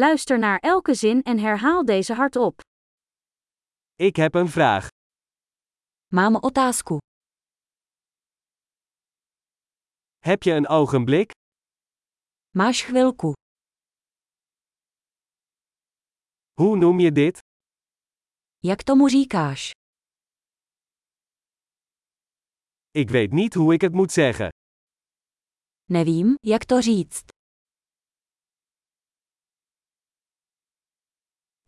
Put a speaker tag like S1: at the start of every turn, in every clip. S1: Luister naar elke zin en herhaal deze hardop.
S2: Ik heb een vraag.
S3: Mám otázku.
S2: Heb je een ogenblik?
S3: Máš chvilku?
S2: Hoe noem je dit?
S3: Jak tomu říkáš?
S2: Ik weet niet hoe ik het moet zeggen.
S3: Nevím, jak to říct.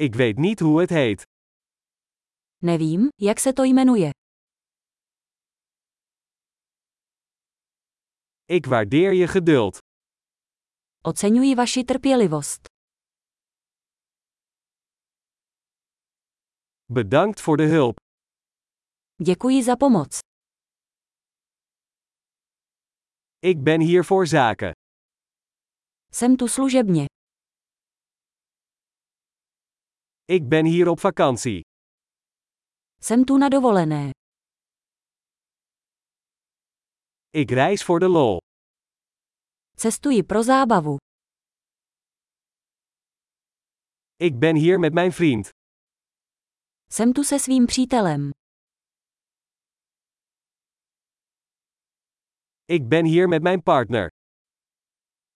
S2: Ik weet niet hoe het heet.
S3: Nevím, jak se to jmenuje.
S2: Ik waardeer je geduld.
S3: Oceňuji vaši trpělivost.
S2: Bedankt voor de hulp.
S3: Děkuji za pomoc.
S2: Ik ben hier voor zaken.
S3: Jsem tu služebně.
S2: Ik ben hier op vakantie.
S3: Jsem tu na dovolené.
S2: Ik reis voor de lol.
S3: Cestuji pro zábavu.
S2: Ik ben hier met mijn vriend.
S3: Jsem tu se svým přítelem.
S2: Ik ben hier met mijn partner.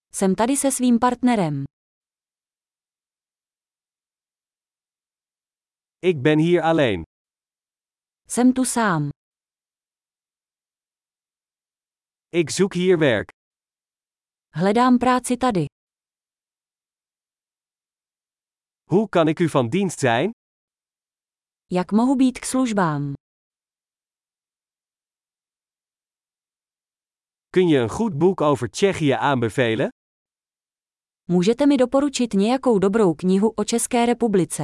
S3: Jsem tady se svým partnerem.
S2: Ik ben hier alleen.
S3: Jsem tu sám.
S2: Ik zoek hier werk.
S3: Hledám práci tady.
S2: Hoe kan ik u van dienst zijn?
S3: Jak mohu být k službám?
S2: Kun je een goed boek over Tsjechië aanbevelen?
S3: Můžete mi doporučit nějakou dobrou knihu o České republice?